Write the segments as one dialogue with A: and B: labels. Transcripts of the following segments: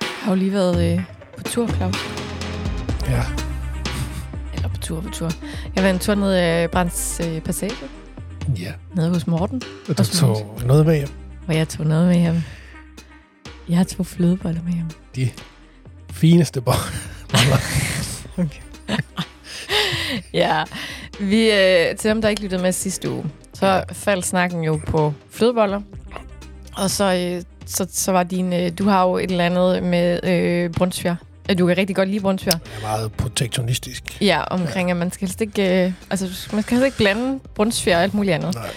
A: har jo lige været øh, på tur, Claus.
B: Ja.
A: Eller på tur, på tur. Jeg har været en tur ned ad øh, Brands øh, Passage,
B: Ja.
A: nede hos Morten,
B: Og du
A: Og smoothie.
B: tog noget med hjem.
A: hvor jeg tog noget med hjem. Jeg tog flødeboller med hjem.
B: De fineste boller.
A: Ja, vi, øh, til dem, der ikke lyttede med sidste uge, så faldt snakken jo på flødeboller. Og så, øh, så, så var din... Øh, du har jo et eller andet med øh, brunsviger. Du kan rigtig godt lide brunsviger.
B: Jeg er meget protektionistisk.
A: Ja, omkring, at man skal helst ikke, øh, altså, du skal- man skal helst ikke blande brunsviger og alt muligt andet.
B: Nej.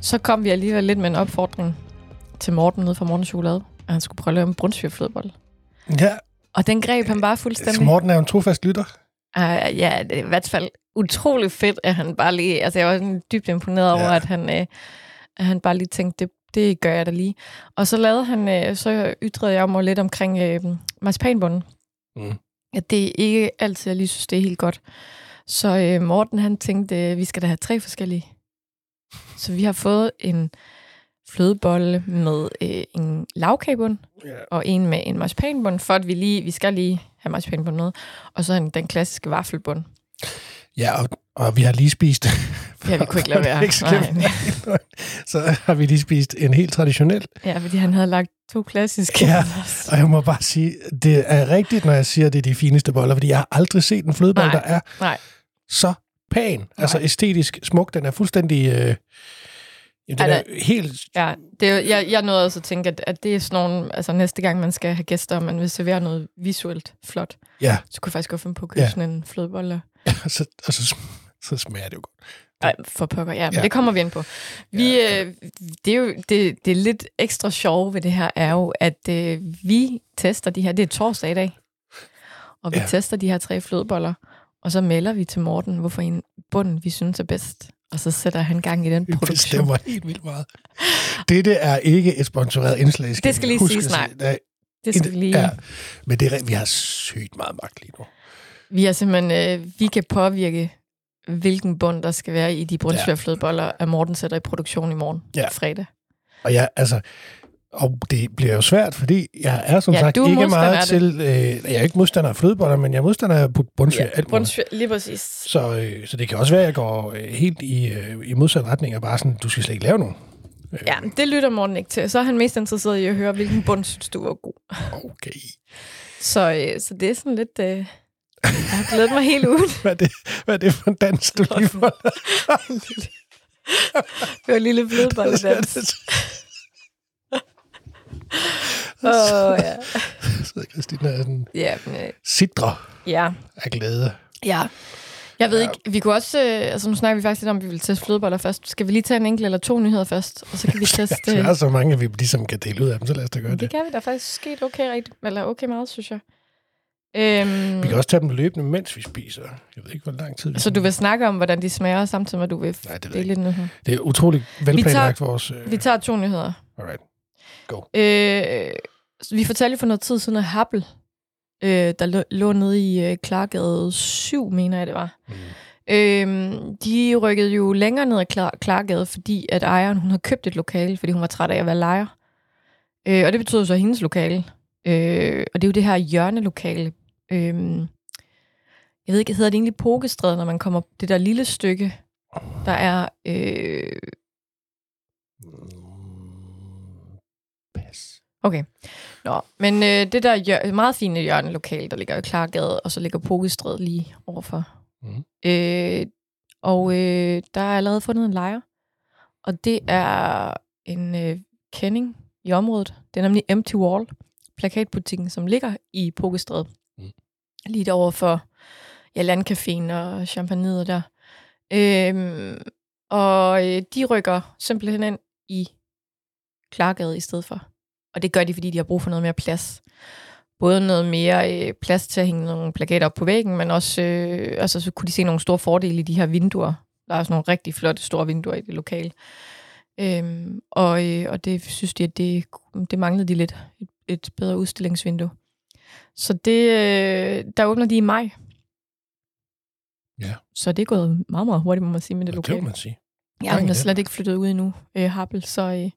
A: Så kom vi alligevel lidt med en opfordring til Morten nede fra Morten Chokolade, at han skulle prøve at lave en brunsvigerflødebolle.
B: Ja,
A: Og den greb han bare
B: så
A: fuldstændig.
B: Morten er jo en trofast lytter.
A: Uh, ja, det er i hvert fald utrolig fedt, at han bare lige... Altså, jeg var sådan dybt imponeret over,
B: Ja.
A: at han, øh, at han bare lige tænkte, det, det gør jeg da lige. Og så lavede han... Øh, så ytrede jeg mig lidt omkring øh, marcipanbunden.
B: Mm.
A: At det er ikke altid, jeg lige synes, det er helt godt. Så øh, Morten, han tænkte, øh, vi skal da have tre forskellige. Så vi har fået en flødebolle med øh, en lavkagebund
B: Ja.
A: og en med en marcipanbund, for at vi lige, vi skal lige have marcipanbund med, og så en, den klassiske vaffelbund.
B: Ja, og, og vi har lige spist...
A: Ja, vi kunne ikke lade
B: For
A: være.
B: det ikke skal
A: Nej.
B: være. Så har vi lige spist en helt traditionel.
A: Ja, fordi han havde lagt to klassiske.
B: Ja. Og jeg må bare sige, det er rigtigt, når jeg siger, at det er de fineste boller, fordi jeg har aldrig set en flødebolle,
A: Nej,
B: der er
A: nej.
B: så pæn. Altså æstetisk smuk. Den er fuldstændig... Øh, jamen, den
A: Ej,
B: er helt...
A: ja det, er jo- jeg, jeg nåede også at tænke, at, at det er sådan nogle, altså næste gang man skal have gæster, og man vil servere noget visuelt flot,
B: Ja,
A: så kunne jeg faktisk godt finde på at købe ja.
B: Ja.
A: sådan en flødebolle.
B: og så, og så, så smager det jo godt.
A: Nej, for pokker. Ja, men ja.
B: Ja.
A: det kommer vi ind på. Vi, ja. øh, det er jo det, det er lidt ekstra sjove ved det her, er jo, at øh, vi tester de her. Det er torsdag i dag. Og vi ja.
B: Ja.
A: tester de her tre flødeboller. Og så melder vi til Morten, hvorfor en bund, vi synes er bedst. Og så sætter han gang i den
B: Det
A: produktion.
B: stemmer helt vildt meget. Dette er ikke et sponsoreret indslag.
A: Det skal
B: vi
A: lige
B: huske
A: siges,
B: at sige.
A: nej.
B: Nej,
A: Det skal vi lige...
B: Ja, men det er, rigtigt, vi har sygt meget magt lige nu.
A: Vi er simpelthen... Øh, vi kan påvirke, hvilken bund, der skal være i de brunsvær flødeboller, at Morten sætter i produktion i morgen,
B: Ja.
A: fredag.
B: Og, jeg, altså, og det bliver jo svært, fordi jeg er som
A: Ja,
B: sagt
A: du er
B: ikke
A: modstander af
B: meget til... Øh, jeg er ikke modstander af flødeboller, men jeg er modstander af but- bundsvær. Ja,
A: Brunsvær, lige præcis.
B: så, øh, så det kan også være, at jeg går øh, helt i, øh, i modsat retning og bare sådan, du skal slet ikke lave nogen.
A: Ja, men det lytter Morten ikke til. Så er han mest interesseret i at høre, hvilken bund synes du var god.
B: Okay.
A: Så, øh, så det er sådan lidt... Øh, jeg har glædet mig helt ugen.
B: Hvad er det, hvad er det for en dans, du lige får?
A: Det var en lille blødbolledans. Åh, oh, ja.
B: Så Christina er sådan
A: Ja, men, øh,
B: sidre
A: ja.
B: af glæde.
A: ja. Jeg ved ikke, vi kunne også... Øh, altså, nu snakker vi faktisk lidt om, at vi vil teste flødeboller først. Skal vi lige tage en enkelt eller to nyheder først? Og så kan vi teste...
B: Der er så mange, vi ligesom kan dele ud af dem, så lad os da gøre
A: Men
B: det.
A: det kan vi. Der er faktisk sket okay, rigtig, eller okay meget, synes jeg. Øhm,
B: Vi kan også tage dem løbende, mens vi spiser. Jeg ved ikke, hvor lang tid vi...
A: så du vil snakke om, hvordan de smager, samtidig med, at du vil
B: Nej, det ved jeg
A: dele lidt nyheder.
B: Det er utroligt velplanlagt vores... Øh...
A: Vi tager to nyheder.
B: Alright.
A: Øh, så vi fortalte jo for noget tid siden, at Happel, øh, der lå, lå nede i øh, Klargade 7, mener jeg det var,
B: Mm.
A: øh, de rykkede jo længere ned ad Klar, Klargade, fordi at ejeren hun havde købt et lokale, fordi hun var træt af at være lejer. Øh, og det betød så hendes lokale. Øh, og det er jo det her hjørnelokale. Øh, jeg ved ikke, hedder det egentlig Pokestræde, når man kommer det der lille stykke, der er... Øh,
B: Mm. Pas.
A: Okay. Nå, men øh, det der hjør- meget fine hjørnelokale, der ligger i Klargade, og så ligger Pokestræd lige overfor.
B: Mhm.
A: Øh, og øh, der er allerede fundet en lejer, og det er en øh, kending i området. Det er nemlig Empty Wall, plakatbutikken, som ligger i Pokestræd.
B: Mhm.
A: Lige derovre for ja, Landcaféen og champagneret der. Øhm, og øh, de rykker simpelthen ind i Klargade i stedet for. Og det gør de, fordi de har brug for noget mere plads. Både noget mere øh, plads til at hænge nogle plakater op på væggen, men også øh, altså, så kunne de se nogle store fordele i de her vinduer. Der er sådan nogle rigtig flotte store vinduer i det lokale. Øhm, og, øh, og det synes de, at det, det manglede de lidt. Et, et bedre udstillingsvindue. Så det, øh, der åbner de i maj.
B: Ja.
A: Så det er gået meget, meget hurtigt, må man sige, med det
B: Det, det
A: lokale.
B: må man sige.
A: Ja, hun er
B: Dejligt.
A: slet ikke flyttet ud endnu, øh, Happel, så øh,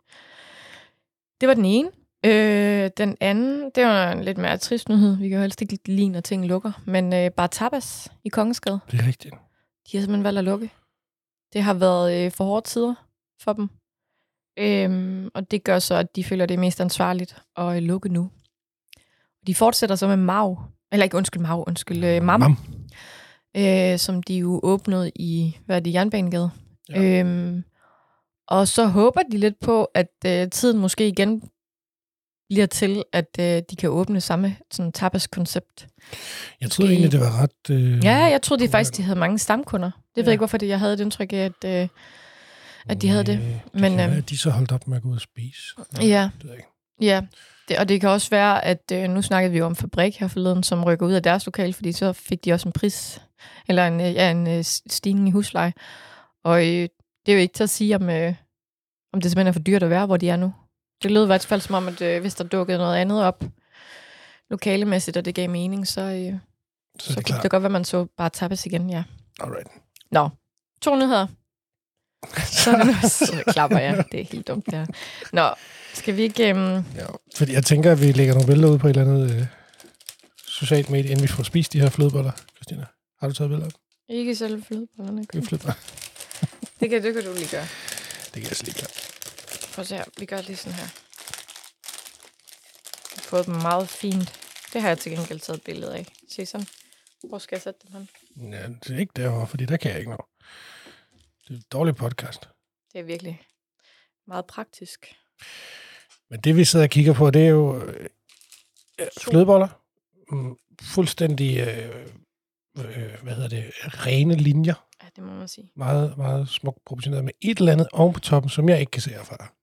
A: det var den ene. Øh, den anden, det var en lidt mere trist nyhed. Vi kan jo helst ikke lide, når ting lukker. Men øh, bare tapas i Kongensgade,
B: Det er rigtigt.
A: de har simpelthen valgt at lukke. Det har været øh, for hårde tider for dem. Øhm, og det gør så, at de føler, det er mest ansvarligt at øh, lukke nu. De fortsætter så med Mau. Eller ikke, undskyld Mau, undskyld øh, Mam.
B: Mam.
A: øh, som de jo åbnede i, hvad er det, Jernbanegade.
B: Ja.
A: Ja. Øhm, og så håber de lidt på, at øh, tiden måske igen bliver til, at øh, de kan åbne samme sådan tapas-koncept.
B: Jeg troede egentlig, det var ret... Øh,
A: Ja, jeg troede de
B: kunne
A: faktisk,
B: være-
A: de havde mange stamkunder. Det ved jeg
B: Ja. Mm.
A: ikke, hvorfor det, jeg havde et indtryk af, at, øh, at de havde det.
B: Næh,
A: Men,
B: øh, kan
A: øhm,
B: være, at de så holdt op med at gå ud og spise. Nå,
A: Ja.
B: Det ved jeg ikke.
A: Ja, det, og det kan også være, at øh, nu snakkede vi jo om Fabrik her forleden, som rykker ud af deres lokal, fordi så fik de også en pris, eller en, øh, ja, en øh, stigning i husleje. Og øh, det er jo ikke til at sige, om, øh, om det simpelthen er for dyrt at være, hvor de er nu. Det lød i hvert fald som om, at øh, hvis der dukkede noget andet op lokalemæssigt, og det gav mening, så, øh, så,
B: Så, er
A: så
B: det
A: kunne
B: klart.
A: det godt være, man så bare tappes igen, ja.
B: Alright.
A: To nyheder. Så, er det nu- så klapper jeg. Det er helt dumt, det her. Nå, skal vi ikke... Øh,
B: Ja, fordi jeg tænker, at vi lægger nogle billeder ud på et eller andet øh, socialt medie, inden vi får spist de her flødeboller. Christina, har du taget billeder?
A: Mm. ikke selv flødebollerne.
B: Kan vi flytte mig?
A: Det kan, det kan du lige gøre.
B: Det kan jeg slet ikke klare.
A: Prøv at se her. Vi gør det lige sådan her. Jeg har fået dem meget fint. Det har jeg til gengæld taget et billede af. Se sådan. Hvor skal jeg sætte dem hen?
B: Ja, det er ikke derovre, fordi der kan jeg ikke nå. Det er et dårligt podcast.
A: Det er virkelig meget praktisk.
B: Men det, vi sidder og kigger på, det er jo øh, flødeboller. Mm, fuldstændig, øh, øh, hvad hedder det, rene linjer.
A: Ja, det må man sige.
B: meget, meget smukt proportioneret med et eller andet oven på toppen, som jeg ikke kan se herfra.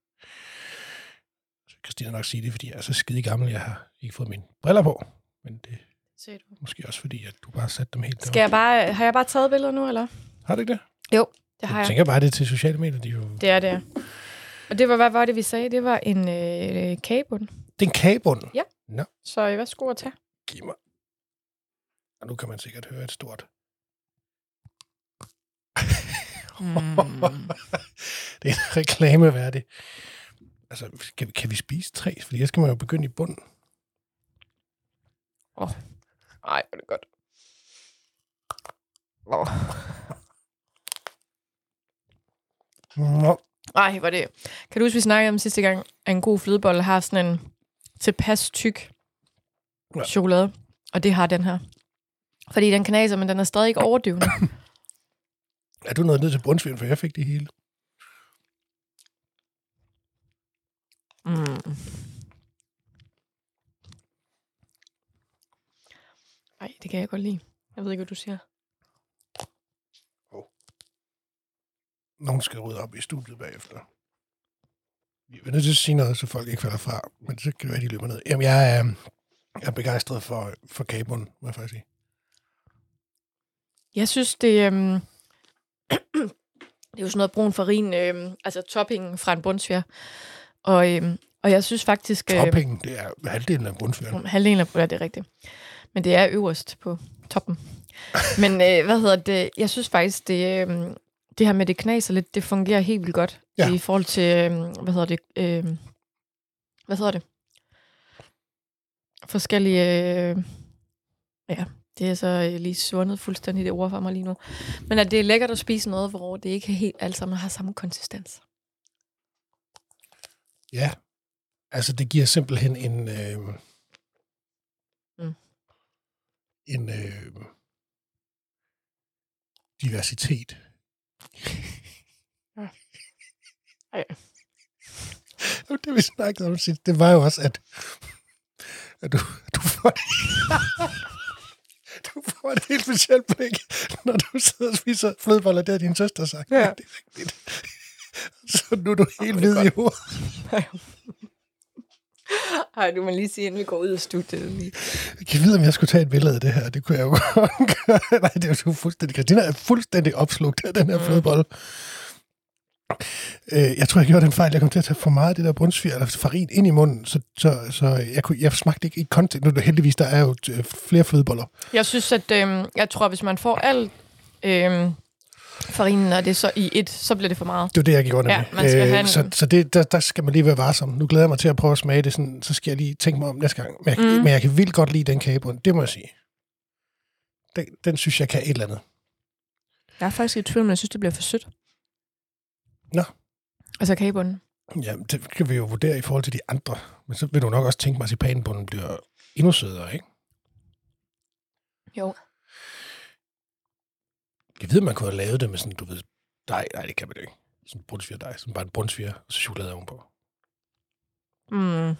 B: Så kan Christina nok sige det, fordi jeg er så skide gammel, jeg har ikke fået mine briller på. Men det er
A: Se du.
B: måske også fordi, at du bare har sat dem helt
A: Skal jeg bare, har jeg bare taget billeder nu, eller?
B: Har du ikke det?
A: Det har
B: jeg
A: jeg.
B: tænker bare, det er til sociale medier. Det er jo...
A: Det er det. er. Og det var, hvad var det, vi sagde? Det var en øh, kagebund.
B: Det er en kagebund.
A: Så øh, værsgo at tage.
B: Giv mig. Og nu kan man sikkert høre et stort.
A: Mm.
B: Det er en reklameværdig. Altså, kan, kan vi spise tre? Fordi jeg skal man jo begynde i bunden.
A: Ej, hvor er det godt. Oh.
B: Nå,
A: Ej, hvor er det... Kan du huske, vi snakkede om sidste gang, at en god flødebolle har sådan en tilpas tyk
B: Ja.
A: ja. chokolade? Og det har den her. Fordi den knaser, men den er stadig ikke overdøvende.
B: er du nået ned til Brunsvigen, for jeg fik det hele?
A: mm. Ej, det kan jeg godt lide. Jeg ved ikke, hvad du siger.
B: nogen skal rydde op i studiet bagefter. Vi er nødt til at sige noget, så folk ikke falder fra, men så kan det være, de løber ned. Jamen, jeg er, øhm, jeg er begejstret for, for kagebunden, må jeg faktisk sige.
A: Jeg synes, det, øhm, det er jo sådan noget brun farin, øhm, altså toppingen fra en bundsvær. Og, øhm, og jeg synes faktisk... øhm,
B: Toppingen, det er halvdelen af bundsføren.
A: Om Halvdelen af ja, det er rigtigt. Men det er øverst på toppen. Men øh, hvad hedder det? Jeg synes faktisk, det, øh, det her med det knaser lidt, det fungerer helt vildt godt
B: Ja.
A: ja. i forhold til, øh, hvad hedder det? Øh, hvad hedder det? Forskellige... Øh, ja, det er så øh, lige svundet fuldstændig det ord for mig lige nu. Men at det er lækkert at spise noget, hvor det ikke helt alt sammen har samme konsistens.
B: Ja, altså det giver simpelthen en... Øh,
A: Mm.
B: En øh, diversitet.
A: Ja. Ej.
B: Ja. Det vi snakkede om sidst, det var jo også, at, at du, du får du får et helt specielt blik, når du sidder og spiser flødeboller. Det har din søster sagt.
A: Ja.
B: Det er rigtigt. Så nu er du helt hvid i hovedet.
A: Ej, du må lige sige, inden vi går ud af studiet. Lige.
B: Jeg kan vide, om jeg skulle tage et billede af det her. Det kunne jeg jo godt gøre. Nej, det er jo fuldstændig... Christina er fuldstændig opslugt af den
A: Mm.
B: her flødebolle. Øh, jeg tror, jeg gjorde den fejl. Jeg kom til at tage for meget af det der brunsvir eller farin ind i munden, så, så, så jeg, kunne, jeg smagte ikke i kontekst. Nu er det heldigvis, der er jo øh, flere flødeboller.
A: øhm, Jeg synes, at øh, jeg tror, hvis man får alt øh, farinen, og det er så i et, så bliver det for meget.
B: Det var det, jeg gik under
A: Ja,
B: med.
A: man skal have en-
B: så så det, der, der skal man lige være varsom. Nu glæder jeg mig til at prøve at smage det, sådan, så skal jeg lige tænke mig om næste gang. Men jeg,
A: Mm.
B: mm. men jeg kan vildt godt lide den kagebund, det må jeg sige. Den, den synes jeg kan et eller andet.
A: Jeg er faktisk i tvivl, men jeg synes, det bliver for sødt.
B: Nå.
A: Altså kagebunden.
B: Jamen, det kan vi jo vurdere i forhold til de andre. Men så vil du nok også tænke, at marcipanbunden bliver endnu sødere, ikke?
A: Jo.
B: Jeg ved, man kunne have lavet det med sådan, du ved, dej. Nej, det kan man jo ikke. Sådan en brunsvigerdej. Sådan bare en brunsviger, og så chokolade ovenpå.
A: Mm.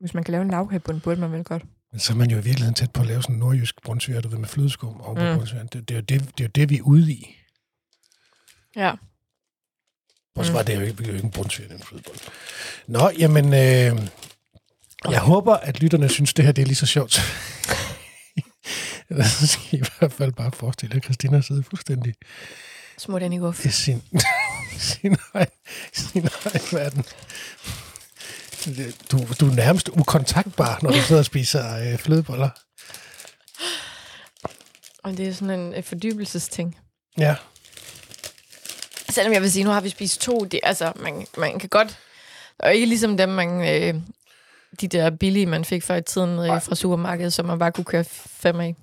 A: Hvis man kan lave en lavkagebund, burde man vel godt.
B: Men så er man jo i virkeligheden tæt på at lave sådan en nordjysk brunsviger, du ved, med flødeskum ovenpå
A: Mm.
B: mm. brunsvigeren. Det, det, er jo det, det er jo det, vi er ude i.
A: Ja.
B: Og så
A: Mm.
B: var det jo ikke, det er jo ikke en brunsviger, det er en flødebolle. Nå, jamen, øh, jeg håber, at lytterne synes, det her det er lige så sjovt. Ellers så skal I i hvert fald bare forestille jer, at Christina sidder fuldstændig
A: Smut ind i guf.
B: i sin, sin, egen, sin egen verden. Du, du er nærmest ukontaktbar, når du sidder og spiser øh, flødeboller.
A: Og det er sådan en øh, fordybelsesting.
B: Ja.
A: Selvom jeg vil sige, nu har vi spist to. Det, altså, man, man kan godt... Og ikke ligesom dem, man... Øh, de der billige, man fik før i tiden øh, fra supermarkedet, som man bare kunne køre fem af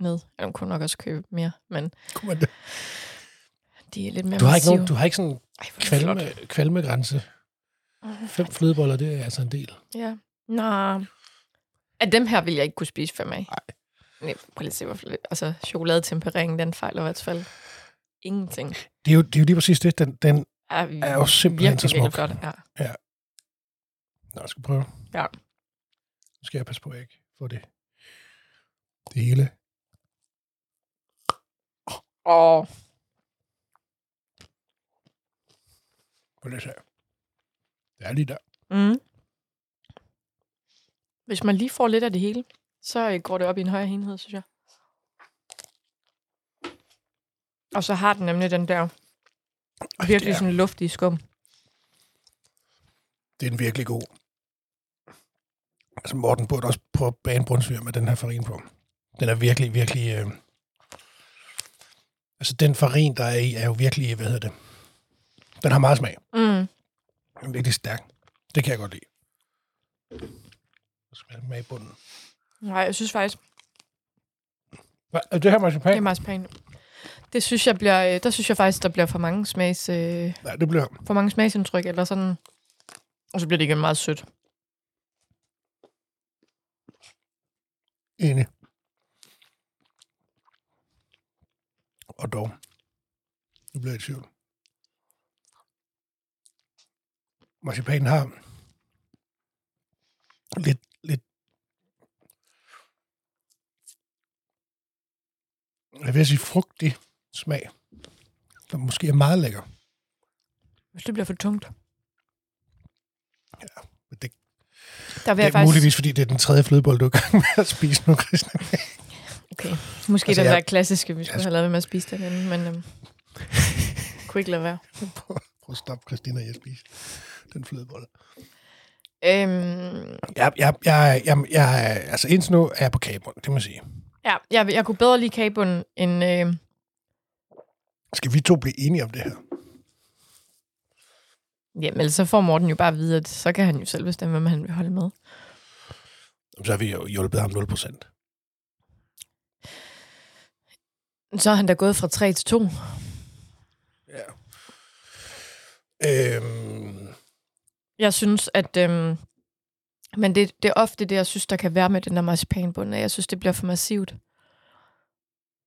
A: ned. Ja, man kunne nok også købe mere, men
B: Kunne man det?
A: de er lidt mere
B: Du har ikke,
A: massive.
B: nogen, du har ikke sådan en
A: Ej, hvor er det flot.
B: kvalme, kvalmegrænse. Fem flødeboller, det er altså en del.
A: Ja. Nå. Af dem her vil jeg ikke kunne spise fem af. Nej. Nej, prøv lige at se, hvor lidt. Altså, chokoladetemperingen, den fejler i hvert fald ingenting.
B: Det er jo, det er jo lige præcis det. Den, den
A: Er,
B: er jo simpelthen så smuk.
A: godt. Ja.
B: Nå, jeg skal prøve.
A: Ja.
B: Nu skal jeg passe på, at jeg ikke får det. Det hele.
A: Og
B: På det her. Det er lige der.
A: mm. hvis man lige får lidt af det hele, så øh, går det op i en højere enhed, synes jeg. Og så har den nemlig den der
B: Ej, det,
A: virkelig
B: er,
A: sådan luftige skum.
B: det er en virkelig god. Altså Morten burde også prøve at bage en brunsviger med den her farin på. Den er virkelig, virkelig... Øh... Altså den farin, der er i, er jo virkelig, hvad hedder det? Den har meget smag.
A: Mm.
B: Den er virkelig stærk. Det kan jeg godt lide. Så skal jeg med i bunden.
A: Nej, jeg synes faktisk,
B: Hva? Er det her marcipan?
A: det er marcipan. Det synes jeg bliver, øh, der synes jeg faktisk, der bliver for mange smags... Øh,
B: Nej, det bliver...
A: for mange smagsindtryk, eller sådan. Og så bliver det igen meget sødt.
B: Enig. Og dog. Nu bliver jeg i tvivl. Marcipanen har lidt, lidt... Jeg vil sige frugtig smag, som måske er meget lækker.
A: Hvis det bliver for tungt.
B: Men det,
A: Der vil
B: det
A: jeg
B: er
A: faktisk...
B: muligvis, fordi det er den tredje flødebolle, du er i gang med at spise nu, Christian.
A: Okay. Måske
B: Altså,
A: altså, den
B: jeg-
A: der klassiske, vi skulle
B: jeg-
A: have lavet med at spise den anden, men øhm, kunne ikke lade være.
B: Prøv prøv at stoppe Christina i at spise den flødebolle.
A: Øhm,
B: Jeg, jeg, jeg, jeg, jeg, altså indtil nu er jeg på kagebund, det må jeg sige.
A: ja, jeg, jeg kunne bedre lide kagebunden end... Øh,
B: Skal vi to blive enige om det her?
A: jamen, ellers så får Morten jo bare at vide, at så kan han jo selv bestemme, hvem han vil holde med.
B: Så har vi jo hjulpet ham 0%.
A: Så er han da gået fra 3 til 2.
B: Ja. Øhm,
A: Jeg synes, at... Øhm, men det, det er ofte det, jeg synes, der kan være med den der marcipanbund, at jeg synes, det bliver for massivt.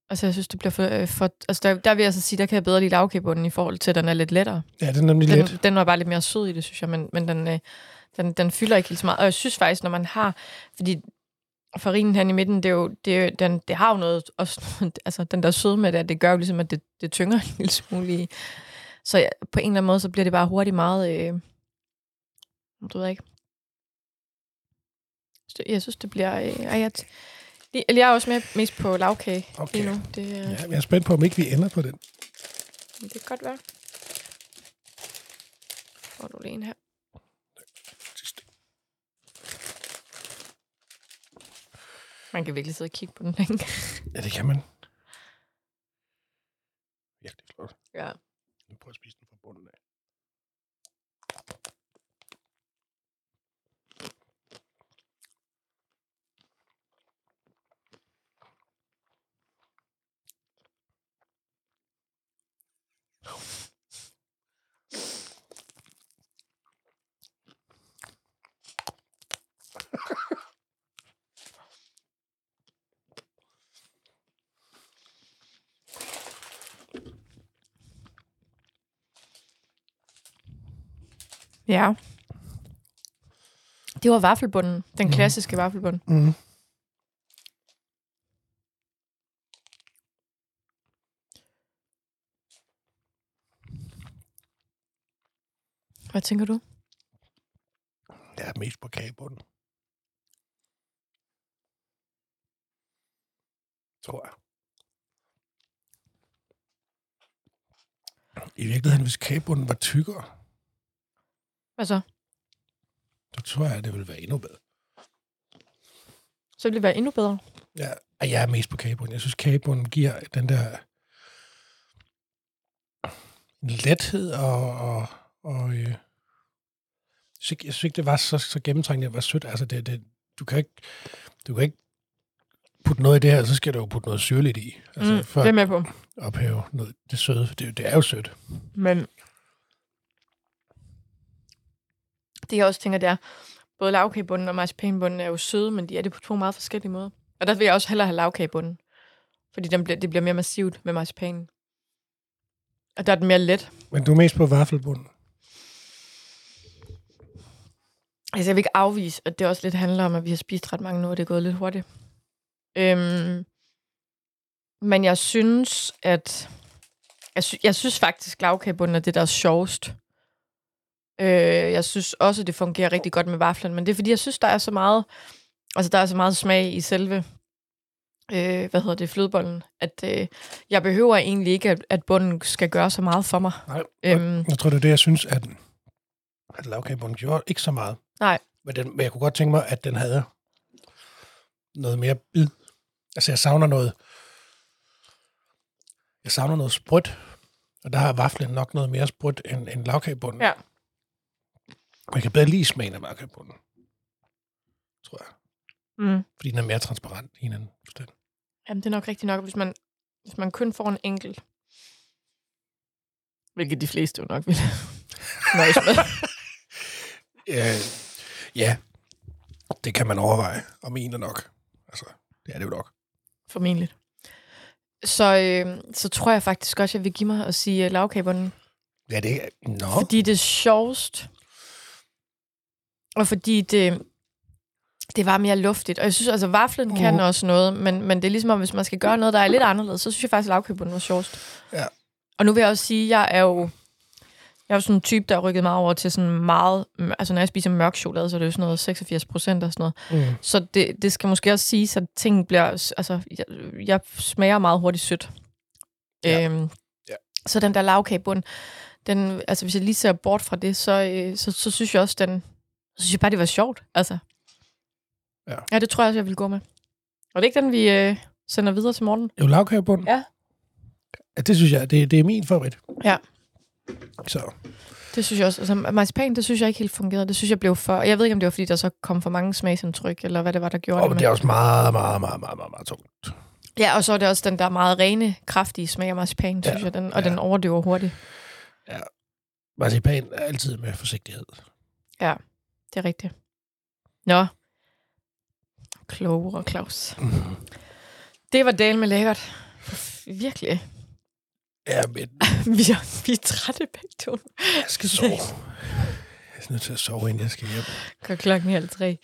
A: Altså, jeg synes, det bliver for... Øh, for altså, der, der vil jeg så sige, der kan jeg bedre lide lavkagebunden i forhold til, at den er lidt lettere.
B: ja, det er nemlig
A: Den,
B: let.
A: den var bare lidt mere sød i det, synes jeg, men, men den, øh, den, den fylder ikke helt så meget. Og jeg synes faktisk, når man har... Fordi farinen her i midten, det, er jo, det, er jo- den, det har jo noget... Også, noget- altså, den der sødme der, det gør jo ligesom, at det, det tynger en lille smule i. Så ja, på en eller anden måde, så bliver det bare hurtigt meget... Øh, du ved jeg ikke. Så Jeg synes, det bliver... Øh, ej, jeg, det- eller jeg er også mere, mest på lavkage okay. lige
B: Okay.
A: nu. Det, øh,
B: Ja, jeg er spændt på, om ikke vi ender på den.
A: men Det kan godt være. Får du lige en her.
B: Sidste.
A: Man kan virkelig sidde og kigge på den længe.
B: Ja, det kan man. virkelig flot.
A: Ja.
B: Nu prøver jeg at spise den fra bunden af.
A: Ja. Det var vaffelbunden. Den klassiske vaffelbund.
B: Mm.
A: Hvad tænker du?
B: Jeg er mest på kagebunden. Tror jeg. I virkeligheden, hvis kagebunden var tykkere,
A: Hvad så?
B: så tror jeg, det ville være endnu bedre.
A: Så ville det være endnu bedre.
B: Ja, og jeg er mest på kagebunden. Jeg synes, kagebunden giver den der en lethed og... og, og øh, jeg synes ikke- jeg synes ikke, det var så, så gennemtrængende, det var sødt. Altså, det, det, du, kan ikke, du kan ikke putte noget i det her, så skal du jo putte noget syrligt i. Altså, mm, for
A: det
B: at
A: er med på.
B: ophæve noget, det søde. Det, er jo- det er jo sødt.
A: Men det jeg også tænker, det er, både lavkagebunden og marcipanbunden er jo søde, men de er det på to meget forskellige måder. Og der vil jeg også hellere have lavkagebunden. Fordi den bliver, det bliver mere massivt med marcipanen. Og der er den mere let.
B: Men du er mest på vaffelbunden.
A: Altså, jeg vil ikke afvise, at det også lidt handler om, at vi har spist ret mange nu, og det er gået lidt hurtigt. Øhm, men jeg synes, at... Jeg, sy- jeg synes faktisk, lavkagebunden er det, der er sjovest. Øh, jeg synes også, det fungerer rigtig godt med vaflen, men det er fordi, jeg synes, der er så meget... Altså, der er så meget smag i selve... Øh, hvad hedder det? Flødebollen. At øh, jeg behøver egentlig ikke, at, at bunden skal gøre så meget for mig.
B: Nej,
A: Øhm,
B: Jeg tror, det er det, jeg synes, at, at lavkagebunden gjorde ikke så meget.
A: Nej.
B: Men, den, men jeg kunne godt tænke mig, at den havde noget mere bid. Altså, jeg savner noget... Jeg savner noget sprødt. Og der har vaflen nok noget mere sprødt end, end lavkagebunden.
A: Ja.
B: Og jeg kan bedre lide smagen af lavkagebunden. Tror jeg.
A: mm.
B: Fordi den er mere transparent i en anden forstand.
A: Jamen, det er nok rigtigt nok, hvis man, hvis man kun får en enkelt. Hvilket de fleste jo nok vil nøjes med.
B: Øh, ja. Det kan man overveje, om en er nok. Altså, det er det jo nok.
A: Formentlig. Så, øh, så tror jeg faktisk også, jeg vil give mig at sige øh, lavkaberne.
B: Ja, det er... Nå.
A: Oh. Fordi det er sjovest. Og fordi det, det var mere luftigt. Og jeg synes, altså, vaflen mm. kan
B: Mhm.
A: også noget, men, men det er ligesom, om hvis man skal gøre noget, der er lidt anderledes, så synes jeg faktisk, at lavkaberne var sjovest.
B: Ja.
A: Og nu vil jeg også sige, at jeg er jo... Jeg er jo sådan en type, der har rykket mig over til sådan meget... Altså, når jeg spiser mørk chokolade, så er det jo sådan noget 86 procent og sådan noget.
B: Mm.
A: Så det, det skal måske også siges, at ting bliver... Altså, jeg, jeg smager meget hurtigt sødt.
B: Ja.
A: Øhm,
B: Ja.
A: Så den der lavkagebund, den, altså hvis jeg lige ser bort fra det, så, øh, så, så synes jeg også, den, så synes jeg bare, det var sjovt. Altså.
B: Ja.
A: ja, det tror jeg også, jeg vil gå med. Og det er ikke den, vi øh, sender videre til morgen.
B: Jo, lavkagebunden.
A: Ja.
B: ja. Det synes jeg, det, det er min favorit.
A: Ja.
B: Så,
A: Det synes jeg også. Altså, marcipan, det synes jeg ikke helt fungerede. Det synes jeg blev for... Jeg ved ikke, om det var, fordi der så kom for mange smagsindtryk, eller hvad det var, der gjorde
B: og
A: det.
B: det er også meget, meget, meget, meget, meget, meget tungt.
A: Ja, og så er det også den der meget rene, kraftige smag af marcipan, synes
B: Ja,
A: jeg, den, og
B: ja.
A: den overdøver hurtigt.
B: Marcipan er altid med forsigtighed.
A: Det er rigtigt. Nå. Klogere, Claus.
B: Mm.
A: Det var del med lækkert. Virkelig.
B: Ja, men
A: Vi er, vi er trætte begge to.
B: jeg skal sove. Jeg er nødt til at sove, inden jeg skal hjem.
A: Godt klokken halv tre.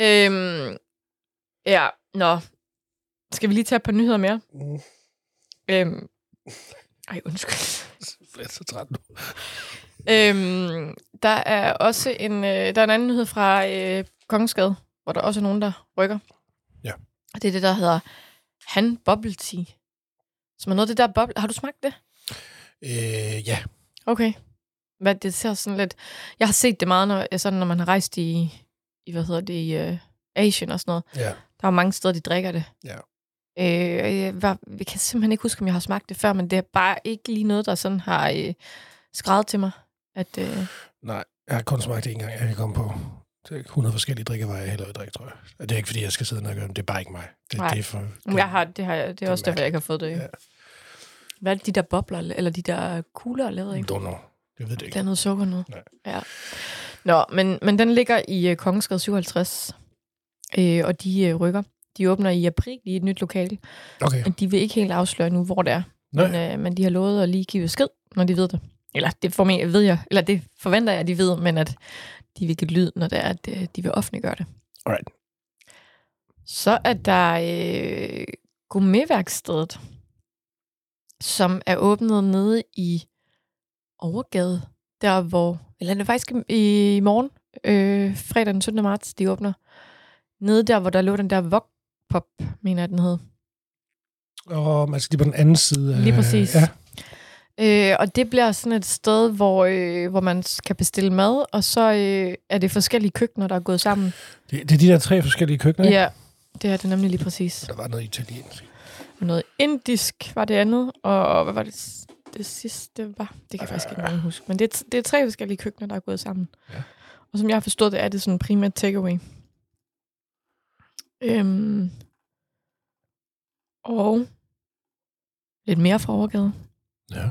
A: øhm, ja, nå. Skal vi lige tage et par nyheder mere?
B: Mm.
A: Øhm, ej, undskyld.
B: Jeg er så træt nu.
A: Øhm, der er også en, øh, der er en anden nyhed fra øh, Kongensgade, hvor der også er nogen, der rykker.
B: Ja.
A: Og det er det, der hedder Han Bubble Tea. Som er noget af det der boble... Har du smagt det?
B: Øh, ja,
A: Okay. Hvad, det ser sådan lidt... Jeg har set det meget, når, sådan, når man har rejst i, i hvad hedder det, i øh, Asien og sådan noget.
B: ja.
A: Der er jo mange steder, de drikker det.
B: Ja.
A: Øh, og jeg, var, jeg kan simpelthen ikke huske, om jeg har smagt det før, men det er bare ikke lige noget, der sådan har øh, skrevet til mig. At, øh,
B: Nej, jeg har kun smagt det en gang, jeg kan komme på. Det er 100 forskellige drikkevarer, jeg heller vil drikke, tror jeg. Og det er ikke, fordi jeg skal sidde og gøre dem. Det er bare ikke mig. Det,
A: Nej.
B: det er for, det,
A: jeg har, det, har, jeg- det er
B: er
A: også derfor, jeg ikke har fået det.
B: Ja.
A: Ja. Hvad er det, de der bobler, eller de der kugler er lavet af?
B: Don't know. Jeg ved det ikke.
A: Blandet sukker noget.
B: Nej.
A: Ja. Nå, men, men den ligger i uh, Kongensgade 57, øh, og de uh, rykker. De åbner i april i et nyt lokale,
B: Okay.
A: og de vil ikke helt afsløre nu, hvor det er.
B: Nej.
A: Men, øh, men de har lovet at lige give besked, når de ved det. Eller det, formentlig, ved jeg, eller det forventer jeg, at de ved, men at de vil give lyd, når det er, at øh, de vil offentliggøre det.
B: Alright.
A: Så er der øh, gourmetværkstedet, som er åbnet nede i Overgade, der hvor, eller det er faktisk i, i morgen, øh, fredag den 17. marts, de åbner. Nede der, hvor der lå den der Vok-pop, mener jeg, den hed.
B: Og altså lige på den anden side. af-
A: Lige præcis.
B: Ja.
A: Øh, og det bliver sådan et sted, hvor, øh, hvor man s- kan bestille mad, og så øh, er det forskellige køkkener, der er gået sammen.
B: Det, det, er de der tre forskellige køkkener, ikke?
A: Ja, det er det nemlig lige præcis.
B: Der var noget italiensk.
A: Og noget indisk var det andet, og, og hvad var det, s- det sidste var? Det kan jeg faktisk ikke engang huske. Men det er, t- det er tre forskellige køkkener, der er gået sammen.
B: Ja.
A: Og som jeg har forstået det, er det sådan primært takeaway. Øhm, og lidt mere fra overgade.
B: Ja.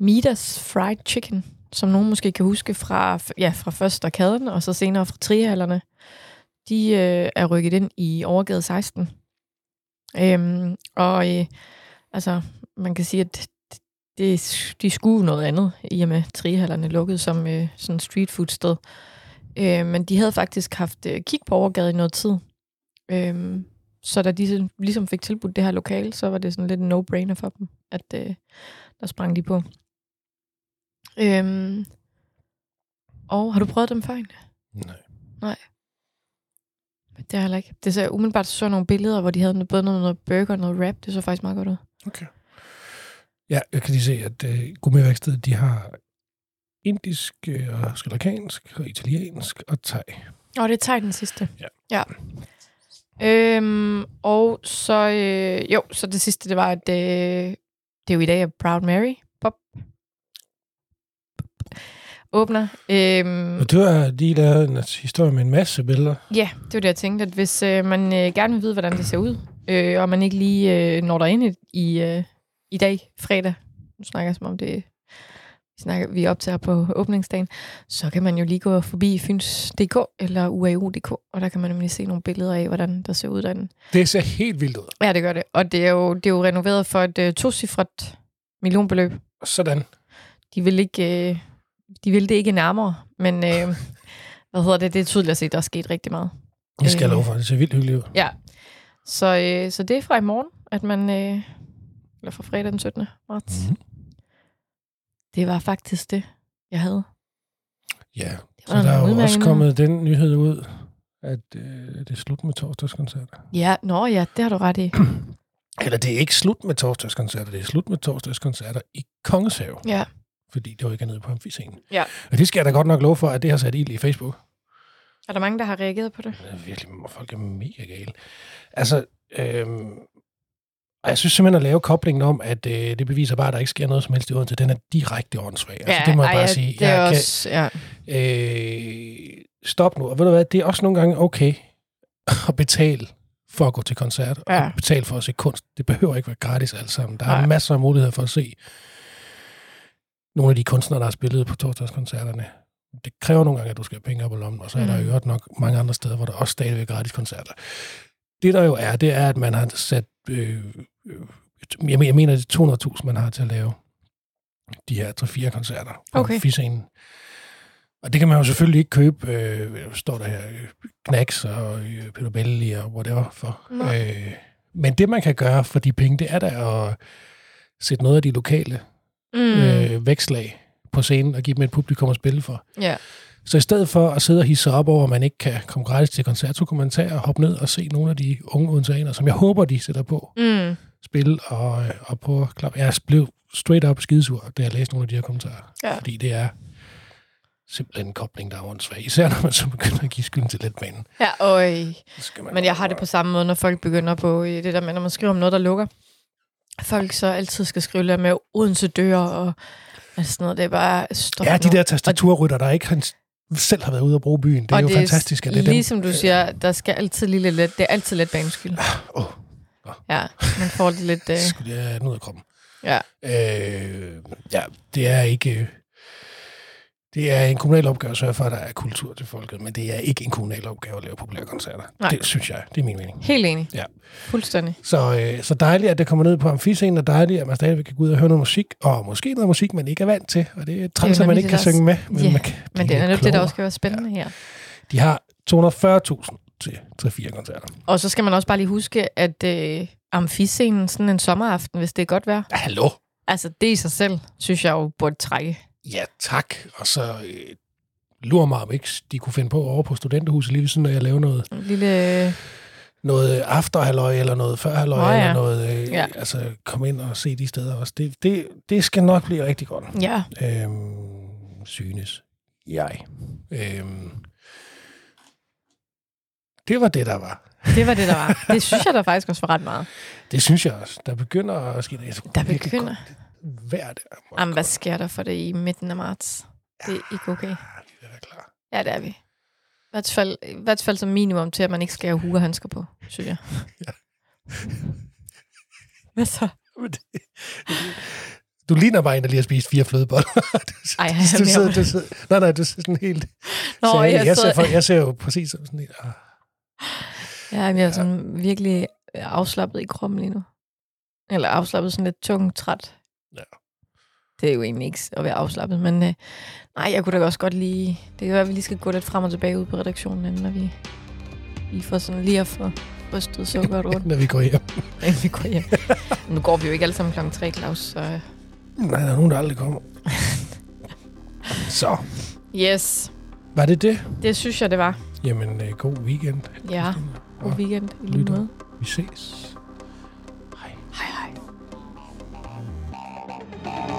A: Midas Fried Chicken, som nogen måske kan huske fra, ja, fra først arkaden, og så senere fra trihallerne, de øh, er rykket ind i overgade 16. Øhm, og øh, altså, man kan sige, at det, de skulle noget andet, i og med trihallerne lukkede som øh, sådan et street food sted. Øh, men de havde faktisk haft øh, kig på overgade i noget tid. Øh, så da de sådan ligesom fik tilbudt det her lokale, så var det sådan lidt en no-brainer for dem, at øh, der sprang de på. Øhm, og har du prøvet dem før egentlig?
B: Nej.
A: Det har jeg heller ikke. Det så umiddelbart så jeg nogle billeder, hvor de havde noget- både noget, noget burger og noget wrap. Det så faktisk meget godt ud.
B: Okay. Ja, jeg kan lige se, at øh, gourmetværkstedet, de har indisk, øh, og sri lankansk, og italiensk og thai.
A: Og det er tegn den sidste.
B: Ja.
A: ja. Øhm, og så, øh, jo, så det sidste, det var, at øh, det er jo i dag, at Proud Mary pop, åbner. Øhm,
B: Og du har lige lavet en historie med en masse billeder.
A: Ja, det var det, jeg tænkte, at hvis øh, man øh, gerne vil vide, hvordan det ser ud, øh, og man ikke lige øh, når derind i, i, øh, i dag, fredag, nu snakker jeg som om det vi snakker, vi optager på åbningsdagen, så kan man jo lige gå forbi fyns.dk eller uau.dk, og der kan man nemlig se nogle billeder af, hvordan der ser ud derinde.
B: Det ser helt vildt ud.
A: Ja, det gør det. Og det er jo, det er jo renoveret for et øh, tocifret millionbeløb.
B: Sådan.
A: De vil, ikke, øh, de vil det ikke nærmere, men øh, hvad hedder det? Det er tydeligt at se, at der er sket rigtig meget.
B: Jeg skal
A: Øh.
B: love for, det ser vildt hyggeligt ud.
A: Så, øh, så det er fra i morgen, at man... Øh, eller fra fredag den 17. marts.
B: Mhm.
A: Det var faktisk det, jeg havde.
B: Ja,
A: Det
B: så
A: var en
B: der er jo
A: udmærket
B: også
A: nyhed.
B: kommet den nyhed ud, at øh, det er slut med torsdagskoncerter.
A: Ja, nå ja, det har du ret i.
B: Eller det er ikke slut med torsdagskoncerter, det er slut med torsdagskoncerter i Kongenshave,
A: Ja,
B: fordi det rykker ned på amfiscenen.
A: Ja.
B: Og det skal jeg da godt nok love for, at det har sat ild i Facebook.
A: er der mange, der har reageret på det?
B: Det er virkelig, folk er mega gale. Altså, øhm, og jeg synes simpelthen at lave koblingen om, at øh, det beviser bare, at der ikke sker noget som helst i Odense, den er direkte åndssvag. Altså, det må jeg
A: ej,
B: bare
A: ja,
B: sige.
A: Det er
B: jeg
A: også, ja.
B: kan, øh, stop nu. Og ved du hvad, det er også nogle gange okay at betale for at gå til koncert, og
A: Ja.
B: betale for at se kunst. Det behøver ikke være gratis alt sammen. Der er
A: Nej.
B: masser af muligheder for at se nogle af de kunstnere, der har spillet på torsdagskoncerterne. Det kræver nogle gange, at du skal have penge op i lommen, og så er der
A: Mm.
B: jo øvrigt nok mange andre steder, hvor der også stadigvæk er gratis koncerter. Det der jo er, det er, at man har sat, øh, øh, jeg, men- jeg mener, det er 200.000, man har til at lave de her 3-4 koncerter på
A: Okay.
B: okay. Fiscenen. Og det kan man jo selvfølgelig ikke købe, øh, hvad står der her, øh, Knacks og øh, Peter Belli og whatever for.
A: Nej.
B: Øh, men det, man kan gøre for de penge, det er da at sætte noget af de lokale
A: Mm, øh,
B: øh, vækslag på scenen og give dem et publikum at spille for.
A: ja.
B: Så i stedet for at sidde og hisse sig op over, at man ikke kan komme gratis til koncert, så kunne man tage og hoppe ned og se nogle af de unge odenseanere, som jeg håber, de sætter på
A: Mm.
B: spil og, øh, og på klap. Jeg blev straight up skidesur, da jeg læste nogle af de her kommentarer.
A: Ja.
B: Fordi det er simpelthen en kobling, der er åndssvag. Især når man så begynder at give skylden til letbanen.
A: Ja, og øh,
B: Så skal man
A: Men jeg har det på samme måde, når folk begynder på øh, det der med, når man skriver om noget, der lukker. Folk så altid skal skrive lidt med Odense dør og alt sådan noget. Det er bare stop
B: Ja,
A: nu.
B: de der tastaturrytter, der ikke han selv har været ude og bruge byen. Det er
A: Og
B: og jo det fantastisk, at det er dem. Øh.
A: Ligesom du siger, der skal altid lige lidt let. Det er altid let baneskyld.
B: Åh,
A: Ja, man får det lidt... Øh,
B: det skulle jeg have den ud af kroppen.
A: ja.
B: Øh, ja, det er ikke... øh, Det er en kommunal opgave at sørge for, at der er kultur til folket, men det er ikke en kommunal opgave at lave populære koncerter.
A: Nej.
B: Det synes jeg. Det er min mening.
A: Helt enig.
B: Ja.
A: Fuldstændig.
B: Så, øh, så dejligt, at det kommer ned på amfiscenen, og dejligt, at man stadigvæk kan gå ud og høre noget musik, og måske noget musik, man ikke er vant til, og det er træls, at man
A: nemlig
B: ikke
A: det,
B: kan
A: der er-
B: synge med. Men,
A: Ja,
B: man kan
A: Men
B: blive
A: det er
B: lidt
A: netop det, der
B: klogere.
A: også skal være spændende her.
B: De har 240.000 til 3-4 koncerter.
A: Og så skal man også bare lige huske, at øh, amfiscenen sådan en sommeraften, hvis det er godt vejr.
B: Ja, hallo?
A: Altså, det i sig selv, synes jeg jo burde trække.
B: Ja, tak. Og så øh, lurer mig, om ikke de kunne finde på over på studenterhuset lige ved siden, når jeg laver noget,
A: En lille... øh,
B: noget øh, afterhalløj eller noget førhalløj,
A: Nå ja.
B: eller noget, øh,
A: Ja.
B: ja. altså komme ind og se de steder også. Det, det, det skal nok blive rigtig godt.
A: Ja,
B: Øhm, synes jeg. Øhm, det var det, der var.
A: Det var det, der var. Det synes jeg, der faktisk også var ret meget.
B: Det synes jeg også. Der begynder at ske det.
A: Der begynder.
B: Hver der. Må
A: Jamen, hvad sker der for det i midten af marts? Det er ikke okay.
B: Ja, Ah, det er da klar.
A: Ja, det er vi. I hvert fald, i hvert fald som minimum til, at man ikke skal have hugerhandsker på, synes jeg. Hvad så?
B: Men det- Du ligner bare en, der lige har spist fire flødeboller. Du-
A: Ej,
B: du-
A: jeg er
B: du
A: mere-
B: sidder, du sidder, nej, nej, du sidder sådan helt...
A: Nå,
B: så, jeg, jeg, ser,
A: sad-
B: for, jeg ser jo præcis som sådan helt... Ah,
A: ja, jeg er sådan virkelig øh, afslappet i kroppen lige nu. Eller afslappet sådan lidt tung, træt.
B: Ja.
A: Det er jo egentlig ikke at være afslappet, men øh, nej, jeg kunne da også godt lige... Det kan være, at vi lige skal gå lidt frem og tilbage ud på redaktionen, inden når vi, vi får sådan lige at få rystet sukkeret rundt.
B: når vi går hjem.
A: Ja, vi går hjem. Men nu går vi jo ikke alle sammen klokken tre, Claus. Så. øh.
B: Nej, der er nogen, der aldrig kommer. så,
A: Yes,
B: var det det?
A: det synes jeg, det var.
B: Jamen, øh, god weekend.
A: Ja, god weekend i lige
B: Lytter.
A: måde.
B: Vi ses.